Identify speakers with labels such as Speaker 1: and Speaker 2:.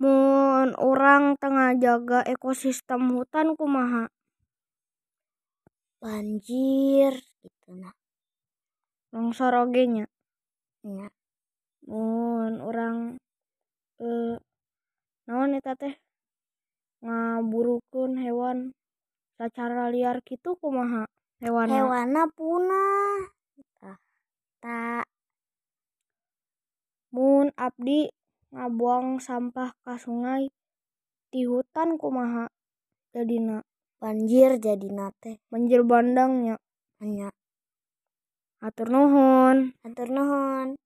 Speaker 1: Lamun urang teu ngajaga ekosistem hutan kumaha?
Speaker 2: banjir gitu nah
Speaker 1: Longsor oge nya.
Speaker 2: Nya.
Speaker 1: Mun urang eh naon eta teh? Ngaburukeun hewan secara liar kitu kumaha? Hewan
Speaker 2: hewana eh, punah Tah. tak
Speaker 1: Mun abdi ngabuang sampah ka sungai di hutan kumaha jadina
Speaker 2: banjir jadi nate
Speaker 1: banjir bandangnya
Speaker 2: hanya
Speaker 1: atur nuhun
Speaker 2: atur nuhun